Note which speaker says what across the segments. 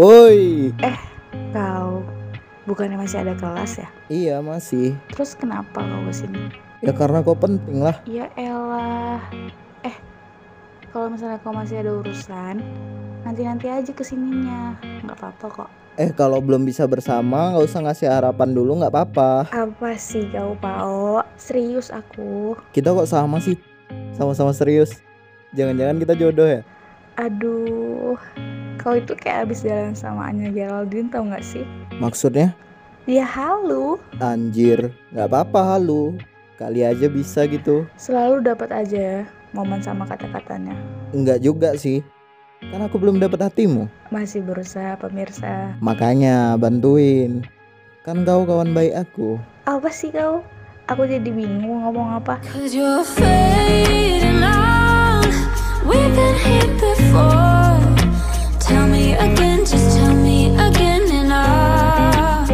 Speaker 1: Woi,
Speaker 2: Kau bukannya masih ada kelas ya?
Speaker 1: iya masih.
Speaker 2: Terus kenapa kau kesini?
Speaker 1: Ya karena kau penting lah.
Speaker 2: Ya elah. Eh, kalau misalnya kau masih ada urusan, nanti-nanti aja kesininya. Nggak apa-apa kok.
Speaker 1: Eh kalau belum bisa bersama, nggak usah ngasih harapan dulu nggak apa-apa.
Speaker 2: Apa sih kau, Pao? Serius aku.
Speaker 1: Kita kok sama sih, sama-sama serius. Jangan-jangan kita jodoh ya?
Speaker 2: Aduh, kau itu kayak abis jalan sama Anya Geraldine tau nggak sih?
Speaker 1: Maksudnya?
Speaker 2: Dia halu,
Speaker 1: Anjir, nggak apa-apa halu. Kali aja bisa gitu.
Speaker 2: selalu dapat aja momen sama kata-katanya.
Speaker 1: Nggak juga sih. Kan aku belum dapat hatimu.
Speaker 2: Masih berusaha pemirsa.
Speaker 1: Makanya bantuin. Kan kau kawan baik aku.
Speaker 2: Apa sih kau? Aku jadi bingung ngomong apa.
Speaker 3: Cause you're fading out. We've been here before. Tell me again, just tell me again, and I.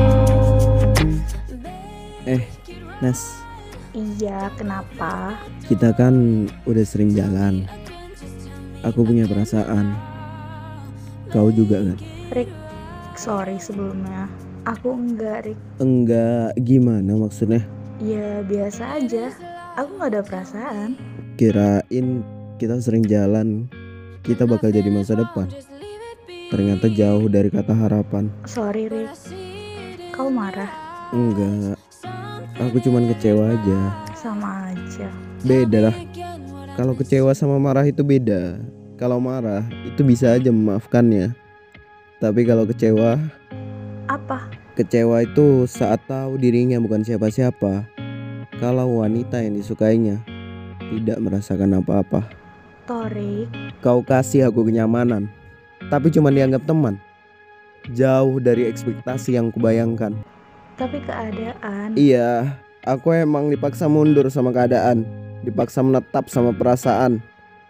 Speaker 4: Eh, Nes,
Speaker 2: Iya, kenapa?
Speaker 4: kita kan udah sering jalan. Aku punya perasaan. Kau juga kan?
Speaker 2: Rick, sorry sebelumnya. Aku enggak, Rick.
Speaker 4: Enggak, gimana maksudnya?
Speaker 2: Ya, biasa aja. Aku nggak ada perasaan.
Speaker 4: Kirain kita sering jalan, kita bakal jadi masa depan. Ternyata jauh dari kata harapan.
Speaker 2: Sorry, Rick. Kau marah.
Speaker 4: Enggak, aku cuman kecewa aja.
Speaker 2: Sama aja.
Speaker 4: Beda lah. Kalau kecewa sama marah itu beda. Kalau marah itu bisa aja memaafkannya. Tapi kalau kecewa,
Speaker 2: Apa?
Speaker 4: Kecewa itu saat tahu dirinya bukan siapa-siapa. Kalau wanita yang disukainya tidak merasakan apa-apa.
Speaker 2: Torik?
Speaker 4: Kau kasih aku kenyamanan, tapi cuma dianggap teman. Jauh dari ekspektasi yang kubayangkan.
Speaker 2: Tapi keadaan...
Speaker 4: Iya, aku emang dipaksa mundur sama keadaan, dipaksa menetap sama perasaan,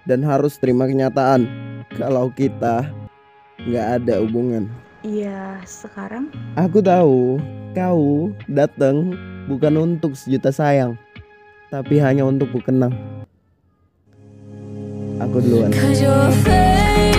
Speaker 4: dan harus terima kenyataan kalau kita nggak ada hubungan.
Speaker 2: Iya, sekarang
Speaker 4: Aku tahu kau datang bukan untuk sejuta sayang, tapi hanya untuk ku kenang. Aku duluan.
Speaker 3: Cause you're fading.